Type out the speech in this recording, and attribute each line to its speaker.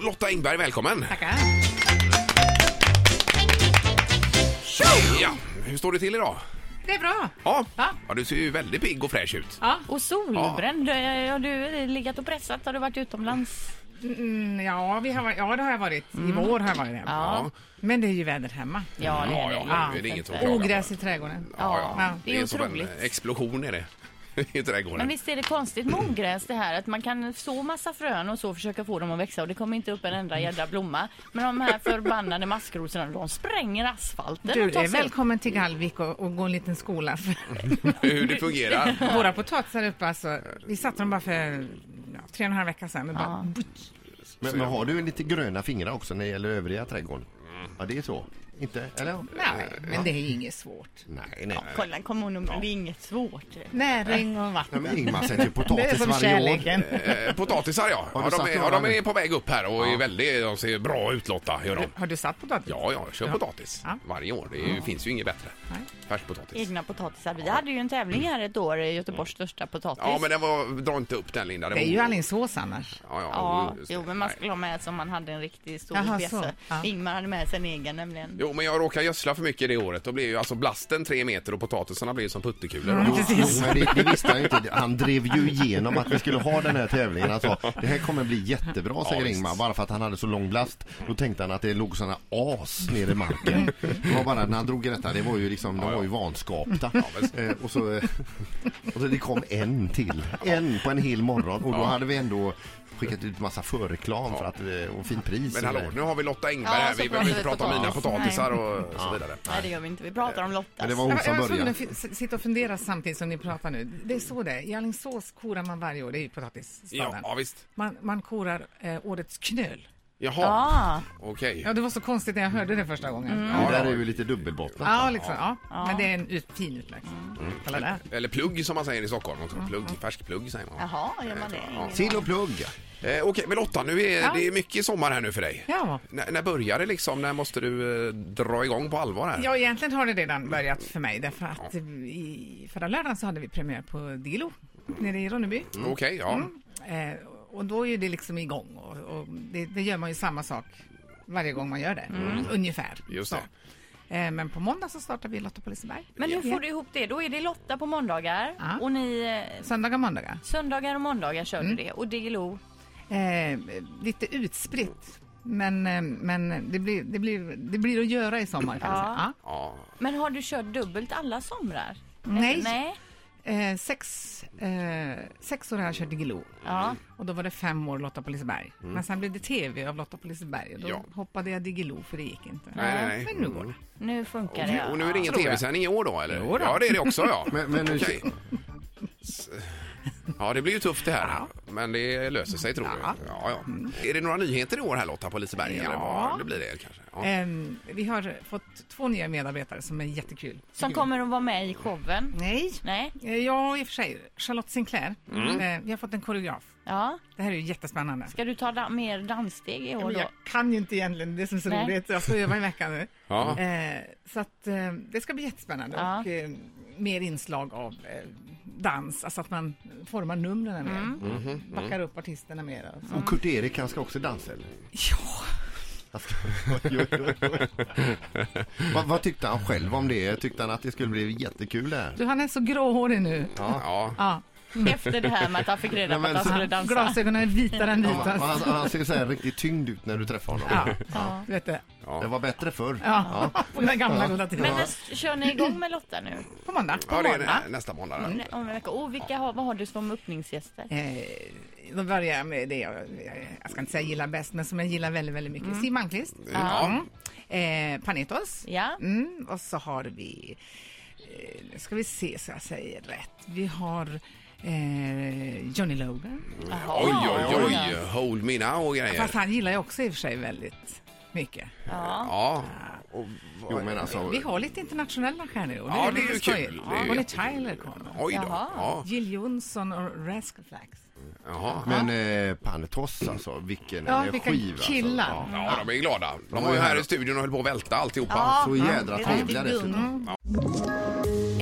Speaker 1: Lotta Engberg, välkommen!
Speaker 2: Tackar.
Speaker 1: Ja, hur står det till idag?
Speaker 2: Det är bra.
Speaker 1: Ja.
Speaker 2: Ja.
Speaker 1: ja, du ser ju väldigt pigg och fräsch ut.
Speaker 2: Ja.
Speaker 3: Och solbränd. Eh, Har du legat och pressat? Har du varit utomlands?
Speaker 2: Mm, ja, vi har, varit- ja, det har jag varit. I vår har jag varit hemma.
Speaker 1: Ja,
Speaker 2: Men det är ju vädret hemma.
Speaker 3: Ja, eh, det är
Speaker 1: ja,
Speaker 3: det.
Speaker 1: ja, det är
Speaker 2: Ja.
Speaker 1: inget att
Speaker 3: Och
Speaker 1: klaga på.
Speaker 2: Ogräs i trädgården.
Speaker 1: Ja, ja.
Speaker 2: Ja,
Speaker 1: Det är, som en explosion är det i trädgården.
Speaker 3: Men visst är det konstigt med ogräs det här att man kan så massa frön och så försöka få dem att växa och det kommer inte upp en enda jädra blomma. Men de här förbannade maskrosorna de spränger asfalten
Speaker 2: Du
Speaker 3: och tar
Speaker 2: är
Speaker 3: sig upp.
Speaker 2: välkommen till Gallvik och, och gå en liten skola.
Speaker 1: Hur det fungerar.
Speaker 2: Våra potatisar där uppe alltså, vi satte dem bara för ja, tre och en halv vecka sedan. Men bara,
Speaker 4: Men, men har du lite gröna fingrar också när det gäller övriga trädgården? Ja, det är så. Inte? Eller?
Speaker 2: Mm. Nej, men det är inget svårt.
Speaker 4: Nej, nej.
Speaker 3: Kolla, kom hon och det är inget svårt.
Speaker 2: Näring och
Speaker 4: nej
Speaker 2: vatten.
Speaker 4: men Ingmar sätter ju
Speaker 2: Det är
Speaker 4: potatis
Speaker 2: som
Speaker 4: varje år.
Speaker 2: kärleken.
Speaker 1: Eh, potatisar ja.
Speaker 4: Har
Speaker 1: ja,
Speaker 4: du
Speaker 1: de,
Speaker 4: satt
Speaker 1: är, ja
Speaker 4: några
Speaker 1: de är
Speaker 4: nu?
Speaker 1: på väg upp här och är väldigt, de ser bra ut Lotta. Gör de.
Speaker 2: Har du satt potatis?
Speaker 1: Ja, ja, jag kör
Speaker 2: Ja.
Speaker 1: potatis
Speaker 2: Ja.
Speaker 1: varje år. Det är, ju- finns ju inget bättre.
Speaker 2: Nej.
Speaker 1: Färskpotatis.
Speaker 3: Egna potatisar. Vi hade ju en tävling här ett år, eh, Göteborgs största potatis.
Speaker 1: Mm. Ja, men den var, dra inte upp den Linda.
Speaker 2: Det är
Speaker 1: var-
Speaker 2: ju Alingsås annars.
Speaker 1: Ja, ja,
Speaker 3: Ja,
Speaker 1: just det.
Speaker 3: jo, men man
Speaker 1: Nej.
Speaker 3: skulle ha med som man hade en riktig stor
Speaker 2: Jaha, så.
Speaker 3: bjässe.
Speaker 2: Ja.
Speaker 3: Ingmar hade med sig en egen nämligen.
Speaker 1: Jo, men jag råkade gödsla för mycket det året. Då blev ju alltså blasten tre meter och potatisarna blev som puttekulor.
Speaker 2: Mm.
Speaker 1: Ja.
Speaker 4: Jo,
Speaker 2: Precis.
Speaker 4: men det, det visste han ju inte. Han drev ju igenom att vi skulle ha den här tävlingen. Han sa det här kommer bli jättebra, säger
Speaker 1: visst.
Speaker 4: Ingmar. Bara för att han hade så lång blast. Då tänkte han att det låg sådana as nere i marken. Det var bara när han drog i detta, det var ju liksom, de var ju vanskapta. Eh, och, så, eh, och så det kom en till. En på en hel morgon. Och då hade vi ändå skickat ut massa förreklam för att, eh, och fint pris.
Speaker 1: Men hallå, nu har vi Lotta Engberg
Speaker 3: Ja,
Speaker 1: här.
Speaker 3: så
Speaker 1: Vi behöver inte
Speaker 3: pratar vi
Speaker 1: prata om mina
Speaker 3: potatis.
Speaker 1: potatisar och så vidare.
Speaker 3: Nej, det gör vi inte. Vi pratar om Lottas.
Speaker 4: Men det var
Speaker 2: Jag
Speaker 4: hon
Speaker 2: var- jag
Speaker 4: som
Speaker 2: var tvungen
Speaker 4: började.
Speaker 2: att fi- s- sitta och fundera samtidigt som ni pratar nu. Det är så det är. I Alingsås korar man varje år, det är ju
Speaker 1: Ja,
Speaker 2: potatisstaden.
Speaker 1: ja, visst.
Speaker 2: Man, man korar eh, årets knöl.
Speaker 1: Jaha,
Speaker 3: Ah,
Speaker 1: okej.
Speaker 2: Ja, det var så konstigt när jag hörde det första gången.
Speaker 4: Det där är ju lite dubbelbottnat.
Speaker 2: Ja, liksom, Mm. ja. Mm. men det är en ut, fin utläggning. Kolla där.
Speaker 1: Eller plugg som man säger i Stockholm också. Plugg,
Speaker 2: Mm.
Speaker 1: färsk plugg säger man.
Speaker 3: jaha, gör man det? Ingen
Speaker 4: Sill och plugg.
Speaker 1: Eh, Okej, men Lotta, nu är,
Speaker 2: Ja.
Speaker 1: det är mycket sommar här nu för dig.
Speaker 2: Ja.
Speaker 1: När, när börjar det liksom? När måste du eh, dra igång på allvar här?
Speaker 2: ja, egentligen har det redan börjat för mig därför att i förra lördagen så hade vi premiär på Dilo nere i Ronneby.
Speaker 1: Mm, Okej, ja.
Speaker 2: Eh, och då är ju det liksom igång och, och det, det gör man ju samma sak varje gång man gör det, Mm. ungefär.
Speaker 1: Just
Speaker 2: så.
Speaker 1: det.
Speaker 2: Eh, Men på måndag så startar vi Lotta på Liseberg.
Speaker 3: Men hur
Speaker 2: Ja.
Speaker 3: får du ihop det? Då är det Lotta på måndagar
Speaker 2: Ja. Mm.
Speaker 3: och ni eh,
Speaker 2: Söndagar och måndagar.
Speaker 3: söndagar och måndagar kör du det och DLO.
Speaker 2: Eh, lite utspritt. Men, eh, men det, blir, det, blir, det blir att göra i sommar kan jag
Speaker 3: Ja.
Speaker 2: säga.
Speaker 1: ja.
Speaker 3: Men har du kört dubbelt alla somrar?
Speaker 2: Nej.
Speaker 3: Eller- Nej.
Speaker 2: Ja. Eh, sex, eh, sex år har jag kört i Glo.
Speaker 3: Ja.
Speaker 2: Och då var det fem år Lotta på Liseberg. Men sen blev det tv av Lotta på Liseberg. Och då
Speaker 1: Mm. Ja.
Speaker 2: hoppade jag Digilo för det gick inte.
Speaker 1: Nej, nej, nej. Mm.
Speaker 2: Men nu går det.
Speaker 3: Nu funkar det.
Speaker 1: Och nu är det ingen
Speaker 2: tror jag.
Speaker 1: tv-sändning i år då, eller?
Speaker 2: Jo då.
Speaker 1: Ja, det är det också, ja.
Speaker 4: Men- men nu-
Speaker 1: Okej. S- Ja, det blir ju tufft det här. Men det löser sig, tror jag. Ja, ja. Är det några nyheter i år här, Lotta, på Liseberg? Eller
Speaker 2: Ja.
Speaker 1: vad? Det blir det kanske. Ja.
Speaker 2: Ehm, vi har fått två nya medarbetare som är jättekul.
Speaker 3: Som kommer att vara med i showen.
Speaker 2: Nej.
Speaker 3: Nej.
Speaker 2: Eh, Ja, i och för sig. Charlotte Sinclair.
Speaker 1: Mm.
Speaker 2: Eh, vi har fått en koreograf.
Speaker 3: Ja.
Speaker 2: Det här är ju jättespännande.
Speaker 3: Ska du ta da- mer danssteg i år
Speaker 2: Men
Speaker 3: då?
Speaker 2: jag kan ju inte egentligen det som är så
Speaker 3: Nej.
Speaker 2: roligt. Jag ska öva i veckan nu.
Speaker 1: Ja.
Speaker 2: Eh, så att eh, det ska bli jättespännande
Speaker 3: Ja.
Speaker 2: och eh, mer inslag av eh, dans, alltså att man formar numren mer,
Speaker 3: Mm.
Speaker 1: Mhm, mm.
Speaker 2: backar upp artisterna mer. Och så.
Speaker 4: Och Kurt-Erik, han ska också dansa eller?
Speaker 2: Ja,
Speaker 4: vad, vad tyckte han själv om det? Tyckte han att det skulle bli jättekul det här?
Speaker 2: du han är så gråhårig nu.
Speaker 1: Ja.
Speaker 2: Ja.
Speaker 3: Efter det här med att han fick reda på
Speaker 4: Nej,
Speaker 3: att
Speaker 4: men
Speaker 3: han
Speaker 4: så-
Speaker 3: skulle dansa.
Speaker 2: Glasögonen är vitare än
Speaker 4: Ja, och
Speaker 2: vita.
Speaker 4: han, han ser så här riktigt tyngd ut när du träffar honom.
Speaker 2: Ja, du vet det.
Speaker 4: Det var bättre förr.
Speaker 2: Ja, på den gamla goda
Speaker 3: Men
Speaker 2: tiden.
Speaker 3: när s- kör ni igång med Lotta nu?
Speaker 2: På måndag.
Speaker 1: Ja, det är nä- nästa måndag. Mm. där.
Speaker 2: Mm.
Speaker 3: Om en vecka. Och vilka har, vad har du som öppningsgäster?
Speaker 2: Eh, då börjar jag med det jag, jag ska inte säga gillar bäst, men som jag gillar väldigt, väldigt mycket.
Speaker 3: Mm.
Speaker 2: Siw Malmkvist.
Speaker 1: Ja.
Speaker 2: Mm. Eh, Panetos.
Speaker 3: Ja.
Speaker 2: Mm, och så har vi, eh, nu ska vi se så jag säger rätt. Vi har eh, Johnny Logan.
Speaker 3: Jaha.
Speaker 1: Oj, oj, oj. Hold me now och grejer.
Speaker 2: Fast han gillar jag också i och för sig väldigt mycket.
Speaker 3: Ja.
Speaker 1: Ja. Och
Speaker 4: Jo, men alltså,
Speaker 2: Vi har lite internationella stjärnor i år.
Speaker 1: Ja, det är ju
Speaker 2: lite skojigt.
Speaker 1: kul. Det är
Speaker 2: Ja,
Speaker 1: ju
Speaker 2: Bonnie
Speaker 1: jättekul.
Speaker 2: Tyler kommer.
Speaker 1: Oj då.
Speaker 3: Jaha.
Speaker 1: Ja.
Speaker 2: Jill Johnson och Rascal Flatts.
Speaker 1: Jaha.
Speaker 4: men eh, Panetos alltså, vilken
Speaker 2: Ja,
Speaker 4: energi.
Speaker 2: vilka killar.
Speaker 4: Alltså. Ja.
Speaker 1: Ja, de är glada. De var ju här i studion och höll på att välta alltihopa.
Speaker 4: Så jädra trevliga dessutom.
Speaker 3: Mm.